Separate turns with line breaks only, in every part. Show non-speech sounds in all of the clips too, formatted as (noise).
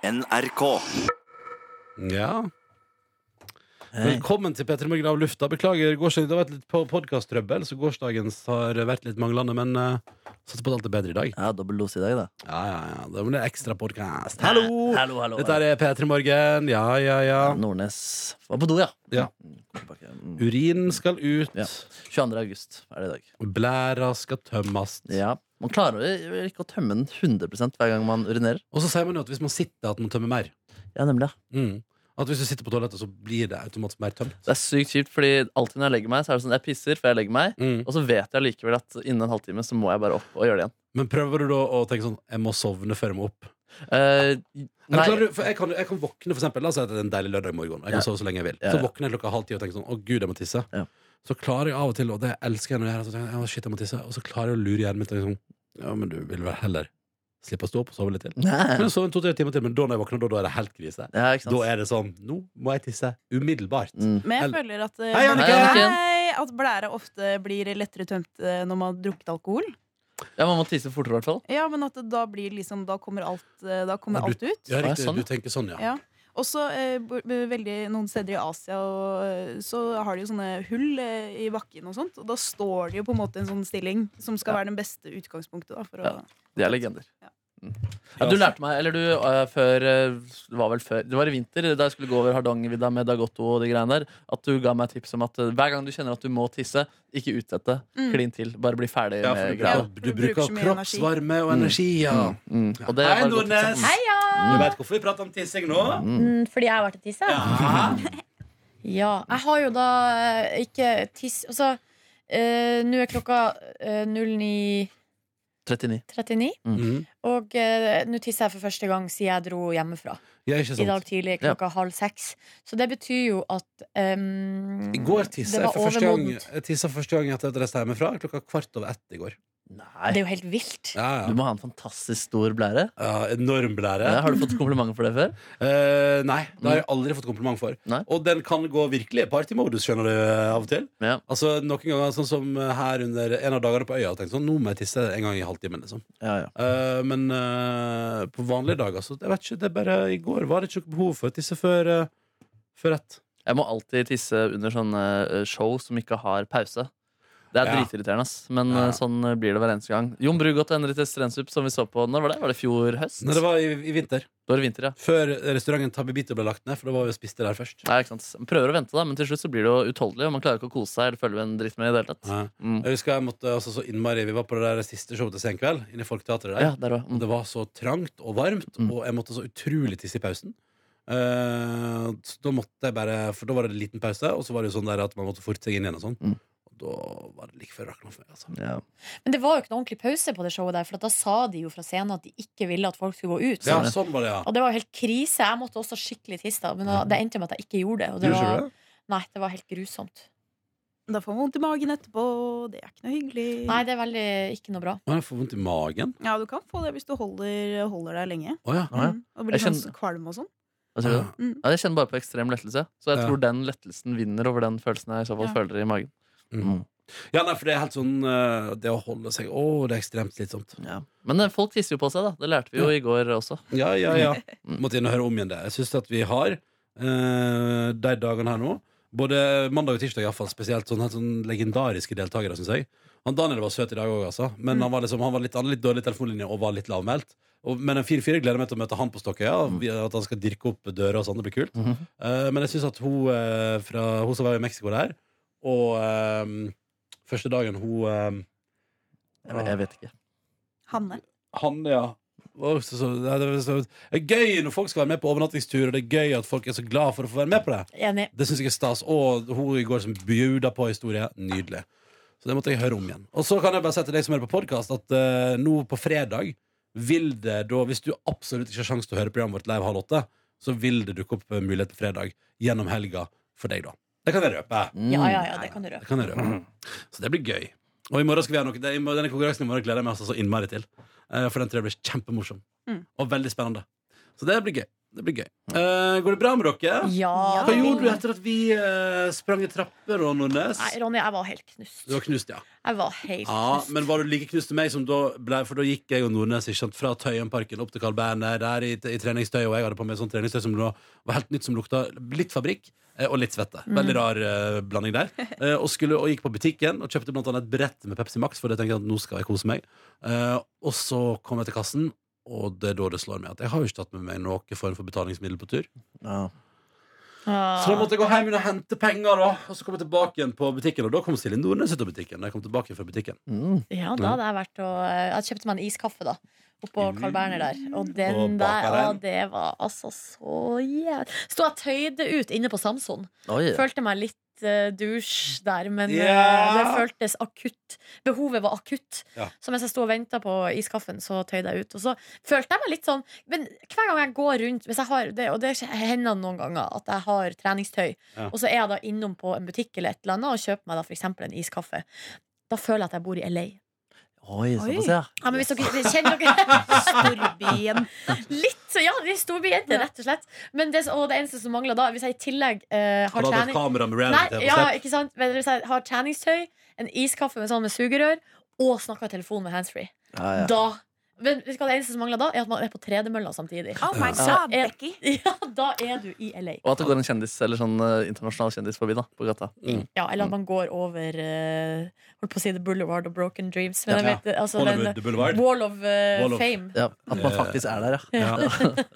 NRK.
Ja. Velkommen til Petter Morgen av lufta. Beklager, gårsdagen, det har vært litt på podkasttrøbbel, så gårsdagens har vært litt manglende, men uh, satser på at alt er bedre i dag.
Jeg har dobbel dose i dag, da.
Ja, ja, ja. Da blir det ekstra podkast. Hallo!
Hallo, hallo,
Dette er P3 Morgen. Ja, ja, ja.
Nordnes var på do, ja.
Ja.
Kom tilbake. Mm.
Urin skal ut.
Ja. 22. august er det i dag.
Blæra skal tømmes.
Ja. Man klarer jo ikke å tømme den 100 hver gang man urinerer.
Og så sier man jo at hvis man sitter, at man tømmer mer.
Ja, nemlig.
Mm. At hvis du sitter på toalettet, så blir det automatisk mer tømt.
Det er sykt kjipt, fordi alltid når jeg legger meg, så er det sånn jeg pisser før jeg legger meg.
Mm.
Og så vet jeg likevel at innen en halvtime så må jeg bare opp og gjøre det igjen.
Men prøver du da å tenke sånn Jeg må sovne før jeg må opp?
Eh,
Eller
nei,
klarer du, for jeg, kan, jeg kan våkne for eksempel, La oss si at det er en deilig lørdag morgen. Jeg kan
Ja.
sove så lenge jeg vil.
Ja,
Så
ja.
våkner jeg klokka halv ti og tenker sånn Å, gud, jeg må tisse.
Ja.
Så klarer jeg av og til, og det elsker jeg når jeg gjør det, så tenker jeg, «Å, shit, jeg må tisse. Og så klarer jeg å lure hjernen min til liksom Ja, men du vil vel heller slippe å stå opp og sove litt til?
nei.
Men så en to-tre timer til, men da når jeg våkner, da, da er det helt krise.
Ja, ikke sant.
Da er det sånn Nå må jeg tisse umiddelbart.
Mm.
Men jeg
Eller-
føler at, eh,
Hei, Anniken!
Hei, at blæra ofte blir lettere tømt eh, når man har drukket alkohol.
Ja, man må tisse fortere, i hvert fall.
Ja, men at det da blir liksom Da kommer alt, eh, da kommer
Ja,
alt ut.
Ja,
Å, ja,
riktig.
sånn,
Du
ja.
tenker sånn, ja.
Ja. Også eh, bo- veldig noen steder i Asia og, eh, så har de jo sånne hull eh, i bakken og sånt. Og da står det jo på en måte en sånn stilling som skal være den beste utgangspunktet. Da, for å,
Ja. De er legender.
Ja.
Mm. Ja, du lærte meg, eller du eh, før, eh, det var vel før Det var i vinter, da jeg skulle gå over Hardangervidda med Dagotto og de greiene der, at du ga meg tips om at eh, hver gang du kjenner at du må tisse, ikke utsett det.
Mm.
Klin til. Bare bli ferdig
Ja, for
med
du,
greia.
Ja,
bruker,
for
du bruker
så mye energi.
kroppsvarme og energi, ja.
Mm. Og det var
Hei,
et godt tips.
Nordnes! Du veit hvorfor vi prater om tissing nå?
Mm, fordi jeg har vært og tissa?
(laughs)
Ja. Jeg har jo da eh, ikke tiss... Altså, eh, nå er klokka eh, 09.39,
39.
Mm.
og eh, nå tisser jeg for første gang siden jeg dro hjemmefra.
Ja, ikke sånn.
I dag
sant.
tidlig klokka halv seks. Så det betyr jo at ehm,
I går tissa
det
jeg
var
for første gang
overmodent.
Jeg tisset første gang etter at jeg reiste hjemmefra. Klokka kvart over ett i går.
Nei.
Det er jo helt vilt.
Ja,
Du
ja.
må ha en fantastisk stor blære.
ja Enorm blære.
Ja, har du fått komplimenter for det før?
Eh, nei, det har jeg aldri fått kompliment for.
Nei.
Og den kan gå virkelig i partymodus, skjønner du, eh, av og til.
Ja.
Altså, Noen ganger sånn som her under en av dagene på øya. og Tenkte sånn, nå må jeg tisse en gang i halvtimen. liksom
Ja, ja.
Eh, Men eh, på vanlige dager så jeg vet ikke, det er bare I går var det ikke noe behov for å tisse før, eh, før ett.
Jeg må alltid tisse under sånne eh, show som ikke har pause. Det er
Ja.
dritirriterende, ass. Men
Ja.
eh, sånn eh, blir det hver eneste gang. Jon Brugodt og Henriette Strensup, som vi så på Når var det? Var det fjor høst?
Nei, det var i, i vinter.
Da var det vinter, ja.
Før restauranten Tabibito ble lagt ned, for da var vi og spiste der først.
Nei, ikke sant. Man Prøver å vente, da, men til slutt så blir det jo utholdelig. Og man klarer ikke å kose seg eller følge med en dritt med i det hele tatt.
Ja.
Mm.
Jeg husker jeg måtte altså, så innmari Vi var på det der siste showet til Senkveld, inne i Folketeatret der.
Ja, der var mm.
Og det var så trangt og varmt,
Mm.
og jeg måtte så utrolig tisse i pausen. Eh, så da måtte jeg bare For da var det en liten pause, og så var det jo sånn der at man måtte forte seg inn igjen og sånn.
Mm. Sånn,
Og da var det like før rakna for meg, altså.
ja.
Men det var jo ikke noen ordentlig pause på det showet der, for at da sa de jo fra scenen at de ikke ville at folk skulle gå ut.
Ja, sånn var det, ja.
Og det var jo helt krise. Jeg måtte også skikkelig tisse, da, men da, det endte med at jeg ikke gjorde det. Og det
Gjorde ikke
var,
du det?
nei, det var helt grusomt.
da får man vondt i magen etterpå. Det er ikke noe hyggelig.
Nei, det er veldig ikke noe bra.
Å, Jeg får vondt i magen.
Ja, du kan få det hvis du holder, holder deg lenge.
Å ja.
Ah, ja.
Mm. Og blir
Jeg
sånn
skjønner.
kvalm og sånn.
Hva sier du? da? (laughs)
Mm.
Ja, jeg kjenner bare på ekstrem lettelse. Så jeg
Ah. Ja.
tror den lettelsen vinner over den følelsen jeg i så fall
Ja.
føler i magen.
Mm. ja, nei, for det er helt sånn eh, Det å holde seg Å, det er ekstremt slitsomt.
Ja. Men eh, folk tisser jo på seg, da. Det lærte vi jo i går også.
Ja, ja, ja.
Mm.
(laughs) Måtte inn og høre om igjen det. Jeg syns at vi har eh, de dagene her nå, både mandag og tirsdag iallfall, spesielt sånn, helt sånn legendariske deltakere, syns jeg. Han Daniel var søt i dag òg, altså. Men han var, liksom, han var litt, han hadde litt dårlig i telefonlinje og var litt lavmælt. Og, men en 4-4 gleder meg til å møte han på Stokkøya. og vi- At han skal dirke opp dører og sånn. Det blir kult.
Mhm.
Eh, men jeg syns at hun, eh, fra, hun som var i Mexico der, og eh, første dagen hun eh,
Jeg, jeg vet ikke.
Hanne.
han, ja. Var også så, det er så, det er gøy når folk skal være med på overnattingstur, og det er gøy at folk er så glad for å få være med på det.
Enig.
Det syns jeg er stas. Og hun i går som bjuda på historie. Nydelig. Så det måtte jeg høre om igjen. Og så kan jeg bare si til deg som hører på podkast, at eh, nå på fredag vil det da, hvis du absolutt ikke har sjanse til å høre programmet vårt live halv åtte, så vil det dukke opp eh, mulighet på fredag gjennom helga for deg, da. Det kan jeg røpe.
Ja, ja, ja, det kan du
Det
røpe.
kan jeg røpe. Så det blir gøy. Og i morgen skal vi ha noe det- i morgen- Denne konkurransen i morgen gleder jeg meg altså så innmari til. Eh, For den tror jeg blir kjempemorsom.
Mm.
Og veldig spennende. Så det blir gøy. Det blir gøy. Eh, går det bra med dere?
Ja,
Hva
det
gjorde du
vil-
etter at vi eh, sprang i trapper og Nordnes?
Nei, Ronny, jeg var helt knust.
Du var knust, ja.
Jeg var helt
ja.
knust.
Men var du like knust til meg som da ble For da gikk jeg og Nordnes ikke sant, fra Tøyenparken opp til Carl Berner der i, i treningstøy, og jeg hadde på meg sånn treningstøy som da var helt nytt, som lukta litt fabrikk. eh, Og litt svette. Veldig rar eh, blanding der. Eh, og, skulle, og gikk på butikken og kjøpte blant annet et brett med Pepsi Max, for jeg tenkte at nå skal jeg kose meg. Eh, og så kom jeg til kassen, og det er da det slår meg at jeg har jo ikke tatt med meg noen form for betalingsmiddel på tur.
Mm,
Ah.
Så da måtte jeg gå hjem og hente penger, da. Og så kom jeg tilbake igjen på butikken, og da kom Silje Nordnes ut av butikken. Da jeg kom tilbake fra butikken.
Mm.
Ja, da hadde jeg vært og eh, Jeg kjøpte meg en iskaffe da Oppå Carl Berner der Og den
Mm. Og
der,
baka
å,
den.
det var altså så jævlig Stod jeg og tøyde ut inne på Samson
Oi.
Følte meg litt uh, douche der Men eh, det
Ja.
føltes akutt Behovet var akutt
Ja.
Så mens jeg stod og ventet på iskaffen Så tøyde jeg ut Og så følte jeg meg litt sånn Men hver gang jeg går rundt hvis jeg har, det, Og det hender noen ganger At jeg har treningstøy
Ja.
Og så er jeg da innom på en butikk eller et eller annet Og kjøper meg da for eksempel en iskaffe Da føler jeg at jeg bor i LA
Oi,
Oi.
såpass, ja.
ja, men hvis dere kjenner dere
(laughs)
Storbyen.
litt Ja, de storbyjenter, rett og slett. Men det, og det eneste som mangler da, hvis jeg i tillegg eh, har
Hadde hatt
trening
kamera med
Nei,
reality
ja, ikke sant? Men Hvis jeg har treningstøy, en iskaffe med, sånn med sugerør og snakker i telefon med handsfree,
Ja, ja.
da men vet du hva det eneste som mangler da, er at man er på tredemølla samtidig.
Ah.
Oh my
Så
god,
er-
Becky.
(laughs) Ja, Da er du i LA.
Og at det går en kjendis eller sånn eh, internasjonal kjendis forbi da, på gata. Mm.
Ja, eller
Mm.
at man går over eh, Holdt på å si The Boulevard og Broken Dreams. Men
Ja.
jeg vet, altså, den,
Hollywood Boulevard.
Wall of, eh,
Wall of-
Fame.
Ja, at man faktisk er der, ja.
(laughs)
Ja.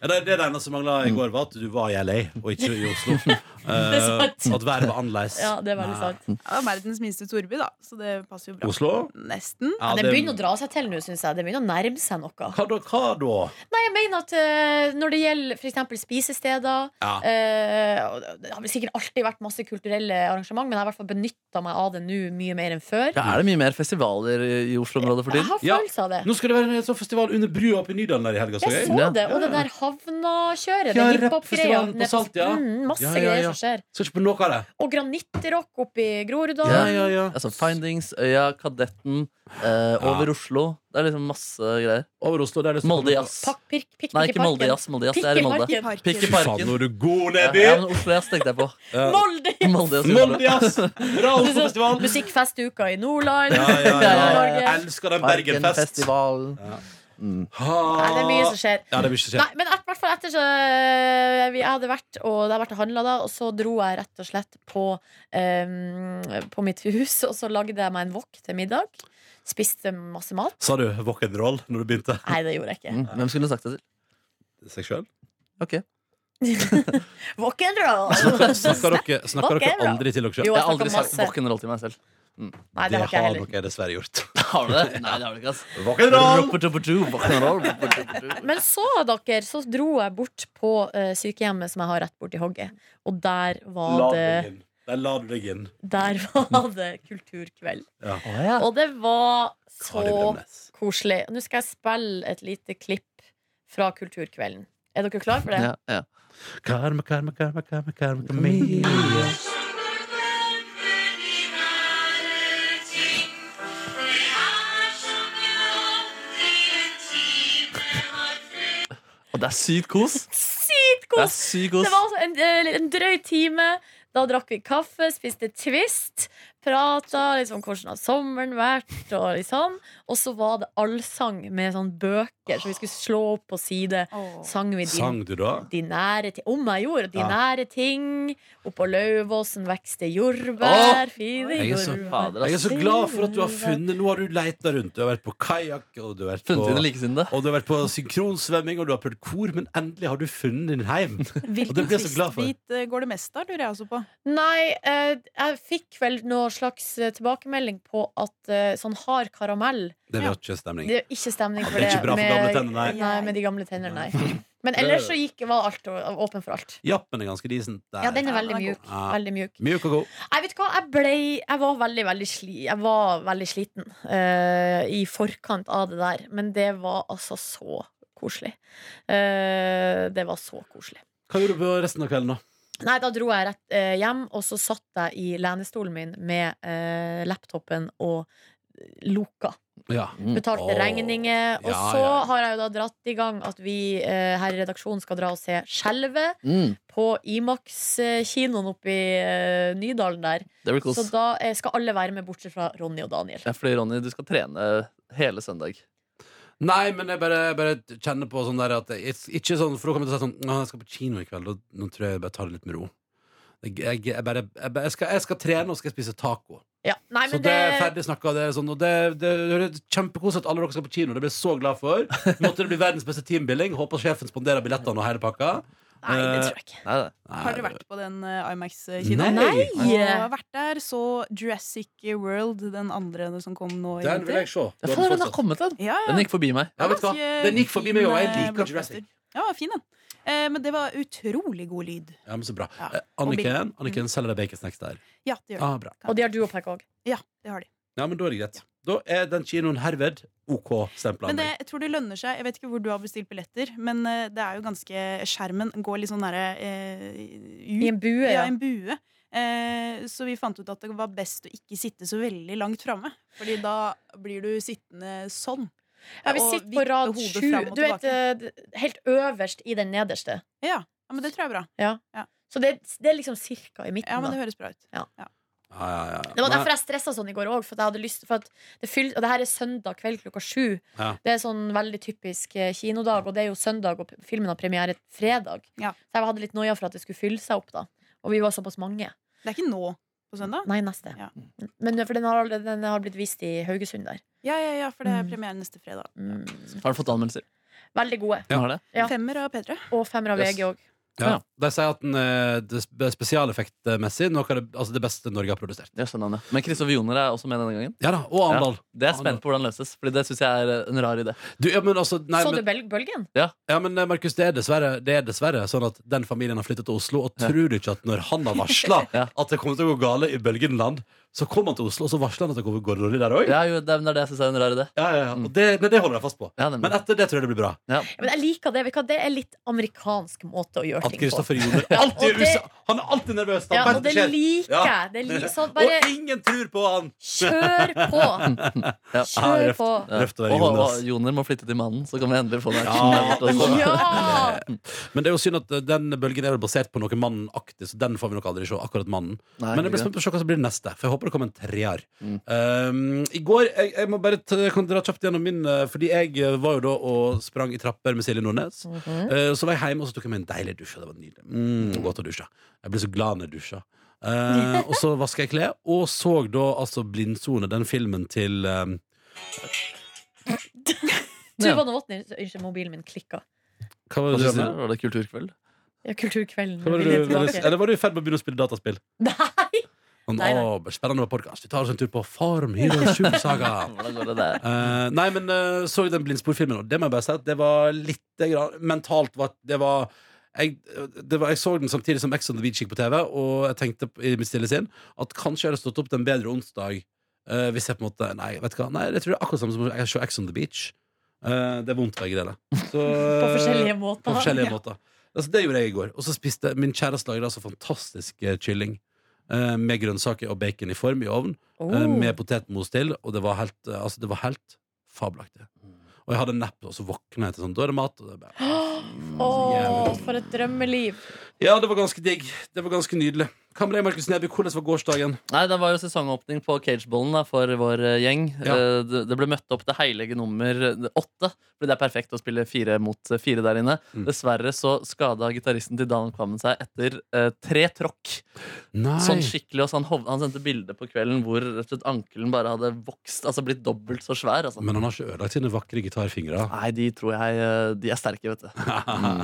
Ja, det, det eneste som mangla i går, var at du var i LA og ikke i Oslo.
(laughs) Det er
Eh,
sant.
at været var annerledes.
Ja, det er veldig
Nei.
sant.
Ja, verdens minste storby, da, så det passer jo bra.
Oslo?
Nesten.
Ja,
det begynner å dra seg til nå, syns jeg. Det begynner å nærme seg noe.
Hva da? Hva da?
Nei, jeg mener at eh, når det gjelder for eksempel spisesteder
Ja.
eh, og Det har vel sikkert alltid vært masse kulturelle arrangement, men jeg har i hvert fall benytta meg av det nå mye mer enn før.
ja. Er det mye mer festivaler i Oslo-området for
Jeg
tiden?
har
Ja.
følelse av det.
Nå skal det være en sånn festival under brua oppe i Nydalen der i helga. så
Jeg
gøy.
så
Ja.
det, og det der
Ja,
havnakjøret. den hiphop-greia.
rappfestivalen på Salt, ja.
Mm, masse
Ja, ja,
greier
ja.
som skjer.
Skal ikke på noe av det.
Og granittrock oppe i Groruddalen.
Ja, ja, ja.
Altså Findings, Øya, Kadetten, eh, Over Oslo. Det er liksom masse greier.
Over Oslo. Der er det
Molde Jazz.
Pakk- pirk- pikk-
Nei,
pikk i
ikke Molde
parken.
Jazz. Molde Jazz, det er i Molde.
Pikk i
parken.
Pikk i
Fy faen,
parken.
nå er du god
Ja,
nedi!
ja, men Oslo Jazz tenkte jeg
(laughs)
på.
(laughs)
Molde!
Molde Jazz. i Oslo.
Molde Jazz!
(laughs)
Bra Oslo-festival!
Musikkfestuka i Nordland.
Ja,
(laughs)
ja, ja.
Nord-Norge.
Jeg elsker den Bergenfest.
Bergenfestivalen. Mm,
Nei, det er mye som skjer.
Ja, det er mye som skjer.
Nei, men et- hvert fall etter så vi, Jeg hadde vært og, det hadde vært og handla, da, og så dro jeg rett og slett på, ehm, på mitt hus, og så lagde jeg meg en wok til middag. Spiste masse mat.
Sa du rock'n'roll når du begynte?
Nei, det gjorde jeg ikke. (laughs)
Mm, Hvem skulle sagt det til?
Seg sjøl?
Ok Jeg
Wok and roll!
Snakker dere, snakker dere
Rock'n'roll.
aldri til dere sjøl?
Jo, jeg
har aldri
snakka
sagt
masse.
rock'n'roll til meg selv.
Nei, det har ikke jeg heller.
dere dessverre gjort.
Har du det? Nei, det har du ikke. ass
Rock'n'roll!
Rock'n'roll, rock'n'roll.
Men så, dere, så dro jeg bort på eh, sykehjemmet som jeg har rett borti hogget. Og der var,
La deg
det,
inn. Der la du deg inn.
der var det kulturkveld.
Å, ja.
Og det var
Kari
så
Bremnes.
koselig. Nå skal jeg spille et lite klipp fra Kulturkvelden. Er dere klar for det?
Ja, ja.
Karma, karma, karma, karma, karma, karma.
Og det er sykt kos.
Sykt
Det er
kos!
sykt
Det
kos.
var altså en, eh, en drøy time. Da drakk vi kaffe, spiste Twist, prata liksom hvordan har sommeren vært, og liksom. Og så var det allsang med sånn bøker som vi skulle slå opp på side.
Åh.
Sang vi din,
Sang du da?
de nære ting Om jeg gjorde de
Ja.
nære ting. Oppå Lauvåsen vokste jordbær, fine
Jeg er så-
jordbær.
Fader, ass.
Jeg er så glad for at du har funnet Nå har du leita rundt. Du har vært på kajakk, og du har vært
Funnet dine
på
likesinnede.
og du har vært på synkronsvømming, og du har prøvd kor, men endelig har du funnet din (laughs) heim. Og det
(laughs) Hvilken
blir jeg så glad for.
twist-bit eh, går det mest av, lurer jeg også på.
Nei, eh, jeg fikk vel noe slags eh, tilbakemelding på at eh, sånn hard karamell
Det var ikke stemning.
Det er ikke stemning for
det
det.
er ikke bra for gamle tenner, nei.
med de gamle tenner,
(laughs)
nei. Men ellers så gikk, var alt å- åpen for alt.
Jappen er ganske decent. Der.
Ja, den er
Ja,
veldig
den er
mjuk.
god.
Ja.
Veldig mjuk.
Mjuk og god.
Jeg vet hva, jeg ble Jeg var veldig, veldig, sli, jeg var veldig sliten eh, i forkant av det der, men det var altså så koselig. Eh, det var så koselig.
Hva gjorde du på resten av kvelden, da?
Nei, da dro jeg rett eh, hjem, og så satt jeg i lenestolen min med eh, laptopen og loka.
Ja.
Mm.
Betalte
Åh.
regninger. Og
Ja,
så
ja, ja.
har jeg jo da dratt i gang at vi eh, her i redaksjonen skal dra og se Skjelvet
Mm.
på Imax-kinoen oppe i eh, Nydalen der.
Det blir kos.
Så da eh, skal alle være med, bortsett fra Ronny og Daniel.
Ja, fordi Ronny, du skal trene hele søndag.
Nei, men jeg bare, bare kjenner på sånn der at jeg- Ikke sånn, for da kommer jeg til å si sånn Nå, jeg skal på kino i kveld, og nå tror jeg jeg bare tar det litt med ro. Jeg, jeg, jeg, bare, jeg, bare- jeg, skal, jeg skal trene, og skal jeg spise taco.
Ja. Nei,
Så
men
det er
det,
ferdig snakka. Det er sånn, og det, det, det er kjempekos at alle dere skal på kino. Det blir jeg så glad for. Måtte det bli verdens beste teambuilding. Håper sjefen sponderer billettene og hele pakka.
nei, det tror jeg ikke.
Nei, det.
Har dere vært på den eh, IMAX-kinoen?
Nei.
Og jeg
Nei!
har vært der, så Jurassic World, den andre som kom nå i
Den vil jeg
vinter.
se.
Ja, faen, den har kommet, den!
Ja, ja.
Den gikk forbi meg.
Ja, vet du hva?
Ganske
Den gikk forbi meg, og jeg
fin, eh,
liker Jurassic.
blockbuster. Ja, fin den. Eh, Men det var utrolig god lyd.
Ja, men så bra.
Ja.
Eh, Anniken, Anniken selger deg baconsnacks der.
Ja, det gjør det.
Ah, bra.
Og de har duopack òg.
Ja, det har de.
Ja, men da er det greit. Da er den kinoen herved OK-stempla.
Men det, jeg tror det lønner seg. Jeg vet ikke hvor du har bestilt billetter, men eh, det er jo ganske Skjermen går litt sånn nære eh, ut.
I en bue,
Ja,
ja.
en bue. Eh, så vi fant ut at det var best å ikke sitte så veldig langt framme. Fordi da blir du sittende sånn.
ja vi
og
sitter på
vippe
rad
hodet
sju.
fram og
Du vet,
tilbake.
eh, helt øverst i den nederste.
Ja, ja, men det tror jeg er bra.
Så det, det er liksom cirka i
Ja,
midten.
men
da.
Det høres bra ut.
Ja, ja, ja.
Det var
Nei,
derfor jeg stressa sånn i går òg. For, at jeg hadde lyst- for at det, fyll- og det her er søndag kveld klokka sju.
Ja.
Det er sånn veldig typisk eh, kinodag, og det er jo søndag, og p- filmen har premiere fredag.
Ja.
Så jeg hadde litt noia for at det skulle fylle seg opp, da. Og vi var såpass mange.
Det er ikke nå på søndag?
Nei, neste.
Ja.
Men for den har, allerede- den har blitt vist i Haugesund der.
Ja, ja, ja, for det er
Mm.
premiere neste fredag.
Mm.
Har den fått anmeldelser?
Veldig gode.
Ja.
Den har det.
Ja.
Femmer av P3.
Og femmer av
Yes.
VG òg.
ja. De sier at den eh, det sp- spesialeffektmessig noe av det, altså det beste Norge har produsert.
Jeg skjønner han, ja. Men Kristoffer Joner er også med denne gangen.
Ja da, Og Arendal.
Det er jeg spent på hvordan løses, Fordi det syns jeg er en rar idé.
Du, Ja. men altså, nei,
Så du
men,
bøl- bølgen?
ja, men eh, Markus, det er, dessverre, det er dessverre sånn at den familien har flyttet til Oslo, og
Ja.
tror du ikke at når han har varsla (laughs)
Ja.
at det kommer til å gå gale i Bølgenland, så kom han til Oslo, og så varsla han at det kommer- går dårlig der òg?
Ja, jo, det er det er det jeg syns er en rar idé.
Ja, ja, ja. Og det, nei, det holder jeg fast på.
Ja, nemlig.
Men etter det tror jeg det blir bra.
Ja, men jeg liker det. Vet du hva? Det er litt amerikansk måte å gjøre
At
ting på.
Kristoffer
(laughs)
Joner
Ja,
alltid
og
er
det-
USA. Han er alltid nervøs. da.
Ja,
Vet
og det
skjer.
liker
Ja.
jeg. Det er li- sånn, bare
Og ingen tror på han!
kjør
(laughs)
på!
Ja.
Ja, det er
Kjør
røft.
på.
Ja.
Røft å være
Og- og-
Jonas.
og Joner må flytte til Mannen, så kan vi endelig få den
Ja.
action.
Ja!
Men det er jo synd at eh, den bølgen er vel basert på noe mannaktig, så den får vi nok aldri se. akkurat mannen
Nei,
Men jeg blir
ikke
spent på å se hva som blir det neste, for jeg håper det kommer en treer.
Mm.
Um, I går jeg, jeg må bare ta, jeg kan dra kjapt gjennom min, eh, fordi jeg eh, var jo da og sprang i trapper med Silje Nordnes.
Mhm.
Eh, Så var jeg hjemme og så tok jeg meg en deilig dusj. og Det var nydelig. Mm, godt å dusje. Jeg ble så glad når jeg dusja. Eh,
(laughs)
og så vaska jeg klær, og så da altså Blindsone, den filmen til eh,
Tuva Novotny Unnskyld, mobilen min klikka.
Hva var
det. Hva
det
synes
du
du?
sa?
Var det Kulturkveld?
Ja, Kulturkvelden.
Hva var det
vil jeg
du- var det-
tilbake.
Eller var du i ferd med å begynne å spille dataspill?
Nei!
Sånn,
Nei, nei.
Å, spennende med podkast. Vi tar oss en tur på Farm Hero
(laughs)
Supersaga.
Hvordan går det der?
Eh, nei, men eh, så den blindsporfilmen, og det må jeg bare si at det var litt eh, grann, mentalt var, Det var jeg, det var, jeg så den samtidig som Ex on the Beach gikk på TV, og jeg tenkte i mitt stille sinn at kanskje jeg hadde stått opp til en bedre onsdag eh, hvis jeg på en måte Nei, vet du hva, nei, jeg tror det er akkurat samme som jeg ser Ex on the Beach. Eh, det er vondt, begge deler. Så,
(laughs) På forskjellige måter.
på forskjellige
Ja.
måter. Altså, det gjorde jeg i går. Og så spiste min kjæreste lagde altså fantastisk eh, kylling. eh, Med grønnsaker og bacon i form i ovn.
Oh.
eh, Med potetmos til. Og det var helt, eh, altså, det var helt fabelaktig. Og jeg hadde napp, og så våkna jeg til sånn. Da er det mat. Og det er bare...
Åh, for et drømmeliv.
Ja, det var ganske digg. Det var ganske nydelig. Hva med deg, Markus Neby? Hvordan var gårsdagen?
Nei, Det var jo sesongåpning på cageballen da, for vår eh, gjeng.
Ja.
Eh, Det, det ble møtt opp det heilige nummer eh, åtte, fordi det er perfekt å spille fire mot eh, fire der inne.
Mm.
Dessverre så skada gitaristen til Dan Kvammen seg etter eh, tre tråkk.
Nei.
Sånn skikkelig, og så han, hov- han sendte bilde på kvelden hvor rett og slett ankelen bare hadde vokst, altså blitt dobbelt så svær. Altså.
Men han har ikke ødelagt sine vakre gitarfingre.
Nei, de tror jeg eh, De er sterke, vet du.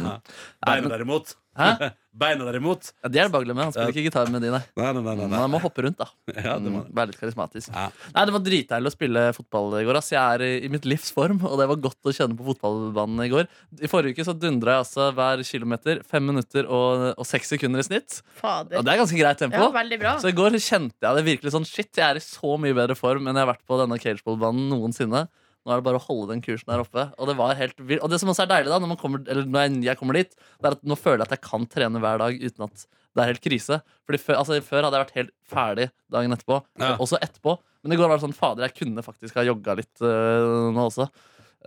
Nei, men-
(laughs) Beina derimot.
Hæ?
(laughs) Beina derimot.
Ja, de er det bare å glemme. Han spiller ikke gitar med de, nei.
Nei, nei, nei. nei,
Men
nei.
han må hoppe rundt, da.
Ja, det var...
Mm, Være litt karismatisk.
Ja.
Nei, Det var dritdeilig å spille fotball i går. Ass. Jeg er i, i mitt livs form, og det var godt å kjenne på fotballbanen i går. I forrige uke så dundra jeg altså hver kilometer fem minutter og, og seks sekunder i snitt. Og
Fader.
det er ganske greit
Ja,
tempo.
veldig bra.
så i går kjente jeg det virkelig sånn Shit, jeg er i så mye bedre form enn jeg har vært på denne cageballbanen noensinne. Nå er det bare å holde den kursen der oppe. Og det, var helt vilt. og det som også er deilig, da når, man kommer, eller når jeg, jeg kommer dit, det er at nå føler jeg at jeg kan trene hver dag uten at det er helt krise. Fordi før, altså, før hadde jeg vært helt ferdig dagen etterpå.
Ja.
Også etterpå. Men i går var det sånn Fader, jeg kunne faktisk ha jogga litt øh, nå også.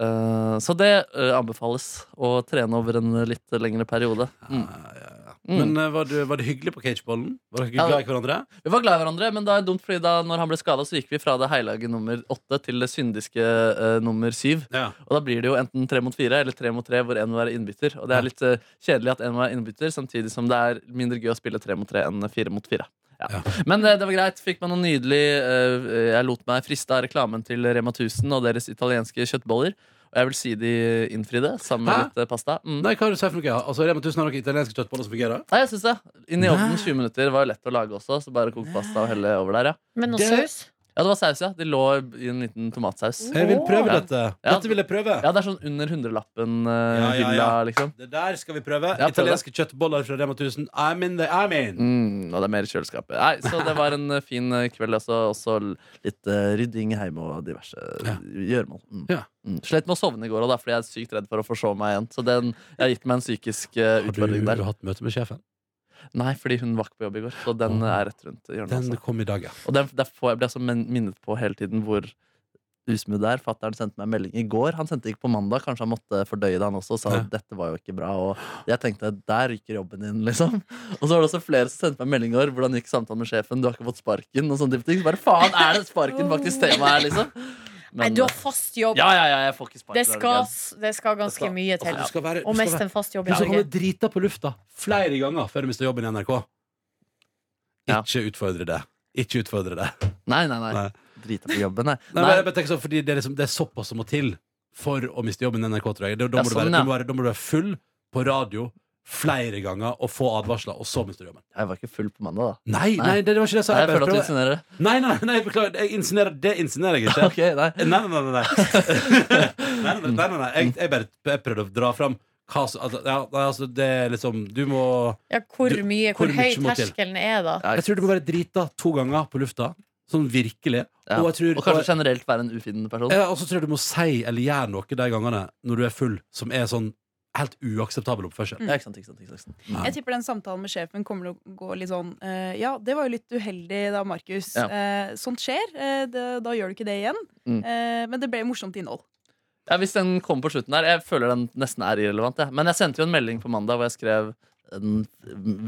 Eh, så det eh, anbefales å trene over en litt lengre periode. Mm.
Ja, ja, ja.
Mm.
Men eh, var, du, var det hyggelig på cageballen? Var dere
Ja,
glad i hverandre?
Vi var glad i hverandre, men da er det dumt fordi da når han ble skada, gikk vi fra det heilage nummer åtte til det syndiske eh, nummer syv.
Ja.
Og da blir det jo enten tre mot fire eller tre mot tre, hvor én må være innbytter. Og det er litt eh, kjedelig at én må være innbytter, samtidig som det er mindre gøy å spille tre mot tre enn fire mot fire. Ja.
Ja.
Men eh, det var greit. Fikk meg noe nydelig eh, Jeg lot meg friste av reklamen til Rema 1000 og deres italienske kjøttboller. Og jeg vil si de innfridde, sammen med
Hæ?
litt eh, pasta. Mm.
Nei, hva har du sagt for noe? Ja? Altså, Rema 1000 har noen italienske kjøttboller som fungerer?
Nei, jeg synes det. Inn i ovnen
Nei.
20 minutter var jo lett å lage også, så bare kok pasta og helle over der, ja.
Men noe
Det-
saus?
Ja, det var saus, ja. De lå i en liten tomatsaus.
Mm.
Jeg vil prøve
Ja.
dette.
Ja.
Dette vil jeg prøve.
Ja, det er sånn under hundrelappen-hylla,
Ja, ja, ja.
liksom.
Det der skal vi prøve.
prøv det.
italienske kjøttboller fra Rema 1000. I'm in the I'm in.
Mm, og det er mer i kjøleskapet. Nei, så det var en eh, fin eh, kveld. Også, også litt eh, rydding hjemme og diverse
Ja.
gjøremål. Mm.
Ja.
Mm. Slet med å sovne i går, og det er fordi jeg er sykt redd for å forsove meg igjen. Så den, jeg har gitt meg en psykisk eh, utfordring der.
hatt møte med sjefen?
Nei, fordi hun var ikke på jobb i går, så den eh, er rett rundt hjørnet.
Den
også.
kom i dag, ja.
Og den, der får jeg blir jeg så min- minnet på hele tiden hvor usmooth det er. Fatter'n sendte meg en melding i går. Han sendte ikke på mandag. Kanskje han måtte fordøye det, han også. Og sa at dette var jo ikke bra. Og jeg tenkte der ryker jobben din, (laughs) liksom. Og så var det også flere som sendte meg en melding i går. Hvordan gikk samtalen med sjefen? Du har ikke fått sparken? Og sånne type ting. Så bare faen, er det sparken faktisk temaet her, liksom?
Nei, du har fast jobb.
eh, ja, ja, ja, jeg får ikke sparken.
det, skal,
herregud.
det skal
Det skal-
ganske mye
Altså, Du
til.
Ja.
skal være, du
Å
skal
miste
være,
en fast jobb
du
i
skal
Norge.
komme drita på lufta flere ganger før du mister jobben i NRK.
Ja.
Ikke utfordre det. Ikke utfordre det.
Nei, nei, nei.
Nei.
Drita på jobben, nei.
Nei, men jeg
nei.
bare tenker sånn, fordi det, er liksom, det er såpass som må til for å miste jobben i NRK, tror jeg. Da,
Ja,
da, må du
sånn,
være,
ja.
du må være, da må du være full på radio flere ganger og få advarsler, og så mister du jobben.
Jeg var ikke full på mandag, da.
Nei,
Nei.
nei, det, det var ikke det jeg sa.
Nei, jeg
Jeg
føler at
bare
du
prøver-
insinuerer (laughs) det.
Nei, nei, nei, beklager. Jeg insinuerer, det insinuerer jeg ikke.
(laughs) Ok, nei.
Nei, nei, nei.
(laughs)
nei, nei, nei, nei, nei, nei. Jeg, jeg bare jeg prøvde å dra fram hva som altså, ja, nei, altså, Det er liksom Du må
Ja, hvor
Du-
mye,
hvor
hvor høy
mye må til?
terskelen er da?
Ja,
Jeg tror du må være drita to ganger på lufta. Sånn virkelig.
Ja.
Og, jeg tror,
Og kanskje generelt være en ufin person.
Ja, og så Eh, altså, tror jeg du må si eller gjøre noe de gangene når du er full, som er sånn helt uakseptabel oppførsel.
Ja, ikke sant, ikke sant, ikke sant.
Ja.
Jeg tipper den samtalen med sjefen kommer til å gå litt sånn eh, Ja, det var jo litt uheldig da, Markus.
Ja.
Eh, sånt skjer. eh, det, da gjør du ikke det igjen.
Mm.
Eh, men det ble morsomt innhold.
Ja, hvis den kommer på slutten her Jeg føler den nesten er irrelevant jeg. Men jeg sendte jo en melding på mandag hvor jeg skrev en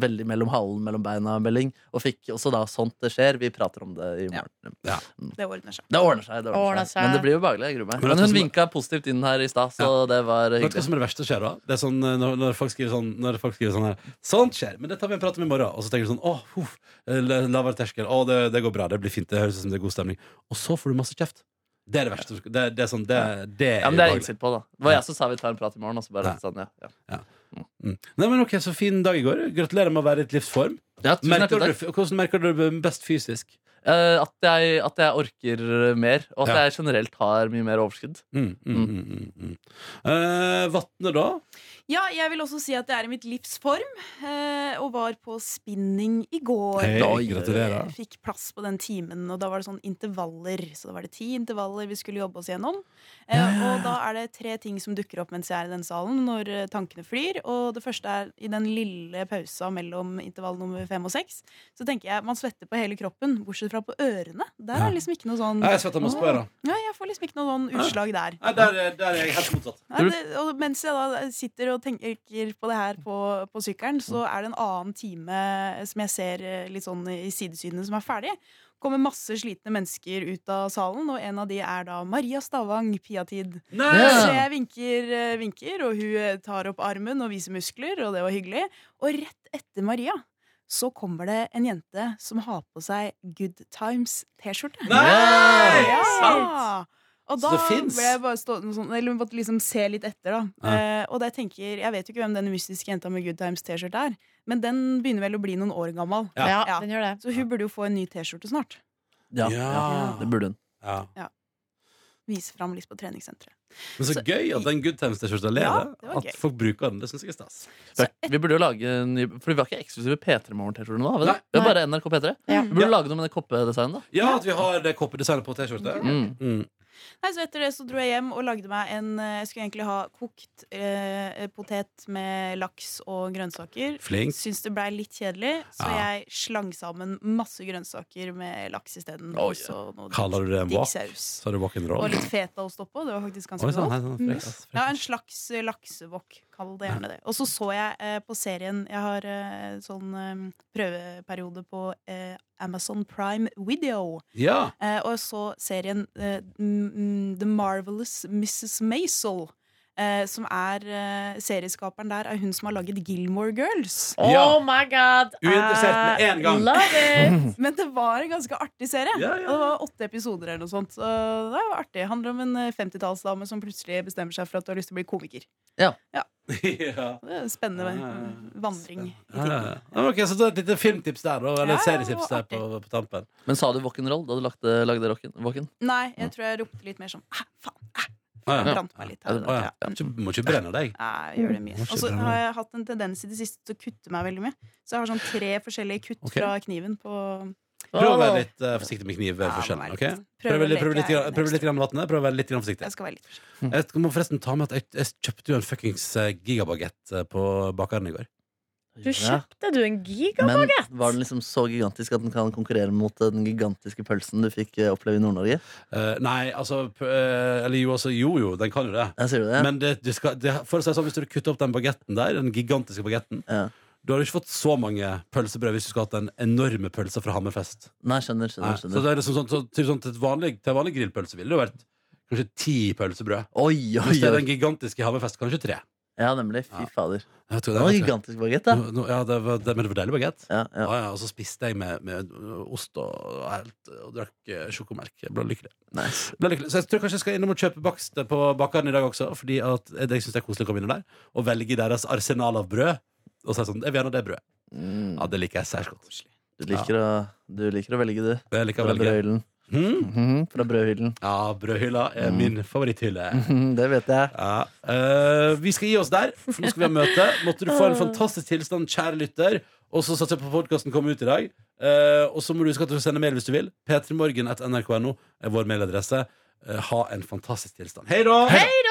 veldig mellom halen, mellom beina melding Og fikk også da sånt det skjer Vi prater om det i morgen
Ja.
Det ordner seg.
Det ordner seg, det ordner
Ordner
seg.
seg.
Men det blir jo behagelig, jeg gruer meg
Men
Men
vet du
hun
som-
vinket positivt inn her i sted Så det var
Vet du hva
hyggelig
som er det verste som skjer da? Det er sånn, eh, når, når, folk skriver sånn, når folk skriver sånn her Sånt skjer, men det tar vi en prat om i morgen. Og så tenker du sånn åh, huff, eh, la- lavere terskel. Å, det, det går bra. Det blir fint. Det høres ut som det er god stemning. Og så får du masse kjeft. Det er det verste. som- Det, det er sånn, det, det er
Ja, men det er jeg
ubehagelig.
innsikt på da Det var jeg som sa vi tar en prat i morgen Og så bare
Ja.
sånn, ja, ja.
Mm. Nei, men ok, Så fin dag i går. Gratulerer med å være i et livsform.
ja tusen
Merker
hjertelig
du,
takk
hvordan merker du det best fysisk?
Eh, at, jeg, at jeg orker mer Og at
Ja.
jeg generelt har mye mer overskudd
Mm, mm, mm, mm, mm. Eh, Vatne, da?
Mm.
Ja, jeg vil også si at det er i mitt livs form. eh, og var på spinning i går.
Hei,
Oi.
gratulerer.
Jeg fikk plass på den timen, og da var det sånn intervaller. Så da var det ti intervaller vi skulle jobbe oss gjennom. Eh, Og da er det tre ting som dukker opp mens jeg er i den salen, når eh, tankene flyr. Og det første er i den lille pausa mellom intervall nummer fem og seks. Så tenker jeg man svetter på hele kroppen, bortsett fra på ørene. Der er det liksom ikke noe sånn
Nei, Jeg svetter masse på øra.
Ja, jeg får liksom ikke noe sånn utslag der.
Nei, Der, er- der er jeg helt motsatt.
Nei, det, og mens jeg da sitter og tenker på det her på, på sykkelen, så er det en annen time som jeg ser eh, litt sånn i sidesynet, som er ferdig. kommer masse slitne mennesker ut av salen, og en av de er da Maria Stavang, Piatid.
Ja.
Så jeg vinker, eh, vinker, og hun eh, tar opp armen og viser muskler, og det var hyggelig. Og rett etter Maria så kommer det en jente som har på seg Good Times-T-skjorte.
Nei!
Ja!
Sant!
Og
Så
da
det finnes.
ble jeg bare stående sånn, eller måtte liksom se litt etter, da.
Ja.
Eh, og da jeg tenker, jeg vet jo ikke hvem den mystiske jenta med Good Times-T-skjorte er, men den begynner vel å bli noen år gammel.
Ja.
Ja,
Ja.
den gjør det.
Så hun burde jo få en ny T-skjorte snart.
ja, ja.
Ja.
det burde hun
Ja.
Vise fram litt på treningssenteret.
Men så
Så-
gøy at den Good Times-T-skjorta
Ja,
lever.
det var gøy.
at folk bruker den. Det syns jeg er stas.
Så
Vi burde jo lage en ny For vi var ikke eksklusive P3 Morgen-T-skjorter nå. Var vi det?
Nei.
Vi var bare NRK P3.
Ja.
Vi burde lage noe med det koppedesignet. da.
Ja, at vi har det koppedesignet på T-skjorte.
Mm.
Mm.
Nei, så etter det så dro jeg hjem og lagde meg en eh, Jeg skulle egentlig ha kokt eh, potet med laks og grønnsaker.
Flink.
Syns det blei litt kjedelig, så
Ja.
jeg slang sammen masse grønnsaker med laks isteden.
Oi.
Og så noe
Kaller du det en
digg
wok?
saus.
Så er det wok and roll.
Og litt fetaost oppå. Det var faktisk ganske
Oi, sånn,
godt.
hei, sånn, frekk, ass, frekk.
Ja, en slags eh, laksewok. Kall det gjerne det. Og så så jeg eh, på serien Jeg har eh, sånn eh, prøveperiode på eh, Amazon Prime Video.
Ja.
Eh, og jeg så serien eh, mm, The Marvelous Mrs. Maisel. Eh, som er eh, Serieskaperen der er hun som har laget Gilmore Girls.
Oh
Ja.
my god!
Uinteressert med
I
en gang.
Love
(laughs)
(laughs)
it!
Men det var en ganske artig serie.
Ja, ja, ja.
Og det var åtte episoder eller noe sånt. Så det var artig. Det handler om en eh, 50-tallsdame som plutselig bestemmer seg for at du har lyst til å bli komiker.
(laughs) ja.
Det er en spennende
Ja, ja, ja.
vandring. i
Ja,
tiden.
ja, ja. Ja, Ok, så det er et lite filmtips der, da. Eller
Ja, ja,
et serietips der
artig.
på, på tampen.
Men sa du rock'n'roll da du lagde, lagde rocken- rocken?
Nei, jeg tror jeg ropte litt mer sånn ah, faen, ah,
Ah, ja.
brant meg litt her. og
Ah,
der,
ja.
ja.
Ikke- Må ikke brenne deg.
Nei, jeg gjør det mye.
Må ikke
Og så
brenne.
har jeg hatt en tendens i det siste til å kutte meg veldig mye. Så jeg har sånn tre forskjellige kutt
Ok.
fra kniven på
Prøv å være
Wow.
litt eh, forsiktig med kniv eh,
Ja,
for skjell,
må være
ok?
litt-
Prøv
å
litt, prøv
leke
litt, grann-
nærmest.
prøv litt grann med vannet. Prøv å være litt grann forsiktig.
Jeg skal være litt forsiktig.
Jeg må forresten ta med at jeg, jeg kjøpte jo en fuckings eh, gigabagett eh, på bakeren i går.
Du kjøpte du en giga?
Men var den liksom så gigantisk at den kan konkurrere mot den gigantiske pølsen du fikk eh, oppleve i Nord-Norge?
Eh, nei, altså p- eh, Eller jo, altså, jo, jo, den kan jo det.
Ja, sier du det?
Men det, du skal, det, for å si det sånn, hvis du hadde kuttet opp den bagetten der, den gigantiske bagetten
Ja.
Du hadde ikke fått så mange pølsebrød hvis du skulle hatt den enorme pølsa fra Hammerfest.
Nei, skjønner,
Nei,
skjønner,
så
skjønner.
det er liksom sånn, så, typ sånn, til, et vanlig, til en vanlig grillpølse ville det vært kanskje ti pølsebrød.
Oi, oi,
Hvis det er
oi.
den gigantiske i Hammerfest, kanskje tre.
Ja, nemlig. Fy
Ja.
fader.
Jeg tror
Det var en
det, var tre.
gigantisk bagett, da.
Nå- nå- ja, det var, det, men det var deilig bagett.
Ja, ja.
Ja. ja, og så spiste jeg med, med ost og, og, helt, og drakk eh, sjokomelk. Jeg ble lykkelig.
Nice.
ble lykkelig. Så jeg tror kanskje jeg skal innom og kjøpe bakst eh, på bakeren i dag også. Fordi at jeg, jeg synes det er koselig å komme innom der og velge deres arsenal av brød. Og så er det sånn, jeg vil gjerne ha det brødet.
Mm.
Ja, det liker jeg særs godt.
Du, liker å, du liker å velge, du.
Jeg liker å
Fra
velge.
brødhyllen.
Hmm?
Mhm, Fra brødhyllen. (laughs)
Ja, brødhylla er
Mm.
min favoritthylle.
Mhm, Det vet jeg.
Ja. eh, vi skal gi oss der, for nå skal vi ha møte. Måtte du få en fantastisk tilstand, kjære lytter. Og så satser jeg på podkasten kommer ut i dag. Eh, og så må du huske at du sender mail hvis du vil. P3morgen.nrk.no er vår mailadresse. Eh, ha en fantastisk tilstand. Hei da!